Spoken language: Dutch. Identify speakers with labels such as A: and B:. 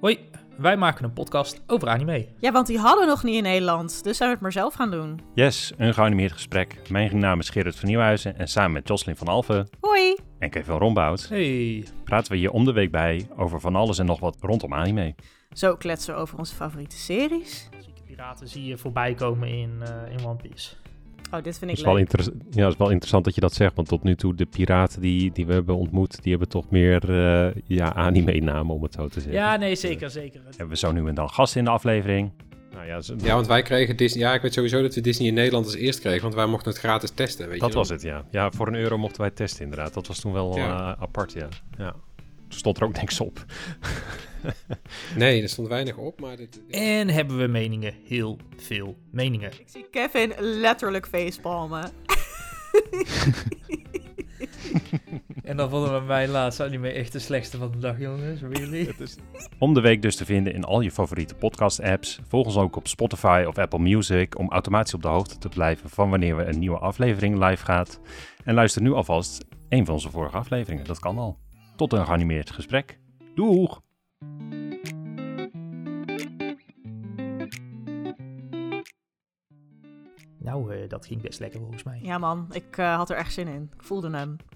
A: Hoi, wij maken een podcast over anime.
B: Ja, want die hadden we nog niet in Nederland, dus zijn we het maar zelf gaan doen.
C: Yes, een geanimeerd gesprek. Mijn naam is Gerrit van Nieuwhuizen en samen met Jocelyn van Alphen
B: Hoi!
C: en Kevin Rombout
A: Hey,
C: praten we hier om de week bij over van alles en nog wat rondom anime.
B: Zo kletsen we over onze favoriete series.
D: Zieke piraten zie je voorbij komen in, eh, in One Piece.
B: Oh, dit vind
C: Dat
B: ik
C: is wel,
B: leuk.
C: interess- ja, dat is wel interessant dat je dat zegt, want tot nu toe de piraten die, die we hebben ontmoet, die hebben toch meer eh, ja, anime-namen om het zo te zeggen.
D: Ja, nee, zeker, zeker.
C: Hebben we zo nu en dan gasten in de aflevering. Nou ja, ze-
E: Ja, want wij kregen Disney. Ja, ik weet sowieso dat we Disney in Nederland als eerst kregen, want wij mochten het gratis testen. Weet
C: dat
E: je wel.
C: was het, ja. Ja, voor een euro mochten wij testen inderdaad. Dat was toen wel
E: Ja.
C: eh, apart, ja. ja. Toen stond er ook niks op.
E: Nee, er stond weinig op, maar dit,
D: En hebben we meningen. Heel veel meningen.
B: Ik zie Kevin letterlijk facepalmen.
A: en dan vonden we mijn laatste anime echt de slechtste van de dag, jongens. Really?
C: Om de week dus te vinden in al je favoriete podcast-apps. Volg ons ook op Spotify of Apple Music om automatisch op de hoogte te blijven van wanneer we een nieuwe aflevering live gaat. En luister nu alvast een van onze vorige afleveringen, dat kan al. Tot een geanimeerd gesprek. Doeg!
D: Nou, eh, dat ging best lekker volgens mij. Nou,
B: eh, Ja man, ik eh, had er echt zin in. Ik voelde hem.